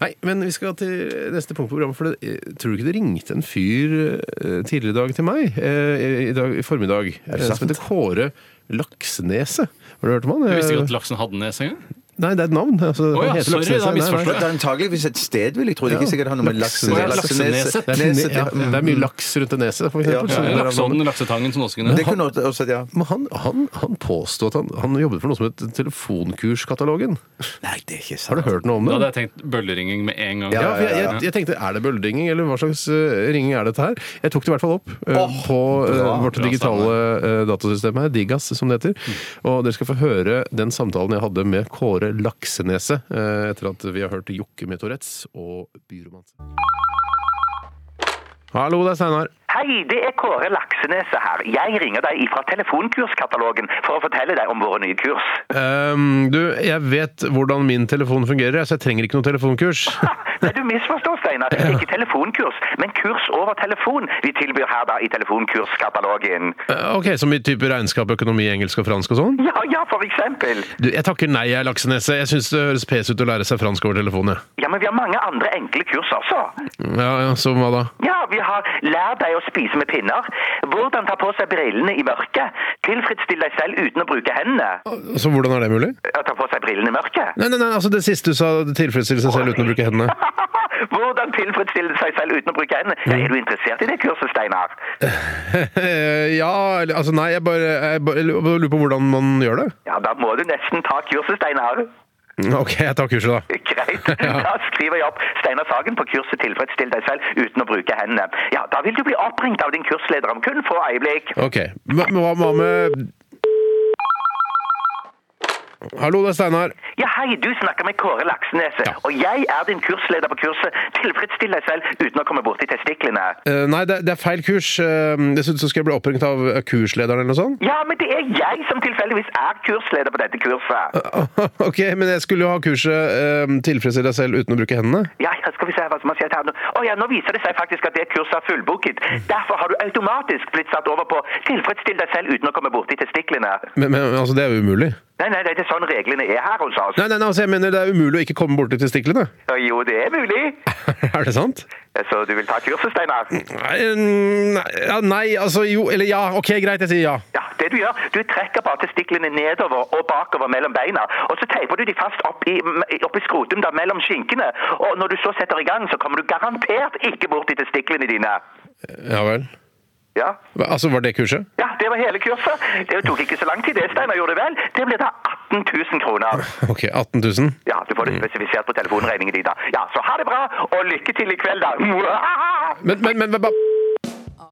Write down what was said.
Nei, men vi skal til neste punkt på programmet. For det, eh, tror du ikke det ringte en fyr eh, tidligere i dag til meg? eh, I, dag, i formiddag. eh, Som heter Kåre Laksneset. Har du hørt om han? Jeg visste Eh, ikke at laksen hadde nese engang. Nei, det er et navn. Altså, Å ja, han heter sorry, Laksneset. da Nei, nei. misforstår jeg. det, Ja. Det er antageligvis et sted, vil jeg tro. Det er ikke sikkert han har med laksen Lakseneset. Lakseneset. er fin- Lakseneset, ja, ja. det er mye laks rundt det neset, for eksempel. Ja, så det er sånn. navnet. Lakseodden, laksetangen som også kunne Det kunne også, ja. Men han, han, han påstod at han, han jobbet for noe som het Telefonkurskatalogen. Nei, det er ikke sant. Har du hørt noe om Da det? hadde jeg tenkt bølleringing med en gang. Ja, for jeg, jeg, jeg tenkte, er det bølledinging, eller hva slags eh, ringing er dette her? Jeg tok det i hvert fall opp eh, Åh, på eh, bra, vårt bra digitale eh, datasystem her, Digas som det heter. Og dere skal få høre den samtalen jeg hadde med Kåre Laksenese eh, etter at vi har hørt Jokke med Tourettes og Byromanse. Hallo, det er Steinar. Hei, det er Kåre Lakseneset her. Jeg ringer deg ifra telefonkurskatalogen for å fortelle deg om våre nye kurs. Ehm, du, jeg vet hvordan min telefon fungerer, så jeg trenger ikke noe telefonkurs. Nei, du misforstår, Steinar. Ikke telefonkurs, men kurs over telefon vi tilbyr her da i telefonkurskatalogen. Eh, ok, Som i type regnskap, økonomi, engelsk og fransk og sånn? Ja, ja, for eksempel. Du, jeg takker nei, jeg, Laksenese. Jeg syns det høres pes ut å lære seg fransk over telefonen. jeg. Ja, men vi har mange andre enkle kurs også. Ja, ja, så hva da? Ja, vi har lær deg å spise med pinner, hvordan ta på seg brillene i mørket, tilfredsstill deg selv uten å bruke hendene, Så hvordan er det mulig? og ta på seg brillene i mørket. Nei, nei, nei, altså Det siste du sa, det tilfredsstiller seg selv uten å bruke hendene. Hvordan tilfredsstille seg selv uten å bruke hendene? Ja, er du interessert i det kurset, Steinar? ja, eller- altså nei, jeg bare, jeg bare jeg lurer på hvordan man gjør det. Ja, da må du nesten ta kurset, Steinar. Ok, jeg tar kurset, da. Greit. Da skriver jeg opp Steinar Sagen på kurset 'Tilfredsstill deg selv uten å bruke hendene'. Ja, da vil du bli oppringt av din kursleder om kun få øyeblikk. Ok, Men hva hva med Hallo, det er Steinar. Ja, hei, du snakker med Kåre Lakseneset, Ja. og jeg er din kursleder på kurset 'Tilfredsstill deg selv uten å komme borti testiklene'. Eh, nei, det, det er feil kurs. Eh, Dessuten så skal jeg bli oppringt av kurslederen eller noe sånt. Ja, men det er jeg som tilfeldigvis er kursleder på dette kurset. Ok, men jeg skulle jo ha kurset eh, 'Tilfredsstill deg selv uten å bruke hendene'. Ja, ja, skal vi se hva som har skjedd her nå. Å ja, nå viser det seg faktisk at det kurset er fullbooket. Derfor har du automatisk blitt satt over på 'Tilfredsstill deg selv uten å komme borti testiklene'. Men, men altså, det er jo umulig. Nei, nei, det er sånn reglene er her hos oss. Nei, nei, nei, altså, jeg mener det er umulig å ikke komme borti testiklene. Ja, Jo, det er mulig. er det sant? Så du vil ta kurset, Steinar? Nei, nei, ja, nei, altså jo Eller ja, ok, greit, jeg sier ja. Ja, det du gjør, du trekker bare testiklene nedover og bakover mellom beina, og så teiper du de fast opp i, opp i skrotum da, mellom skinkene, og når du så setter i gang, så kommer du garantert ikke bort i testiklene dine. Ja vel. Ja, Hva- Altså, var det kurset? ja det var hele kurset. Det tok ikke så lang tid, det Steinar gjorde det vel. Det ble da 18 000 kroner. Ok, 18 000. Ja, du får det spesifisert på telefonregningen din da. Ja, så ha det bra, og lykke til i kveld da. Mwah! Men, men, men, men ba-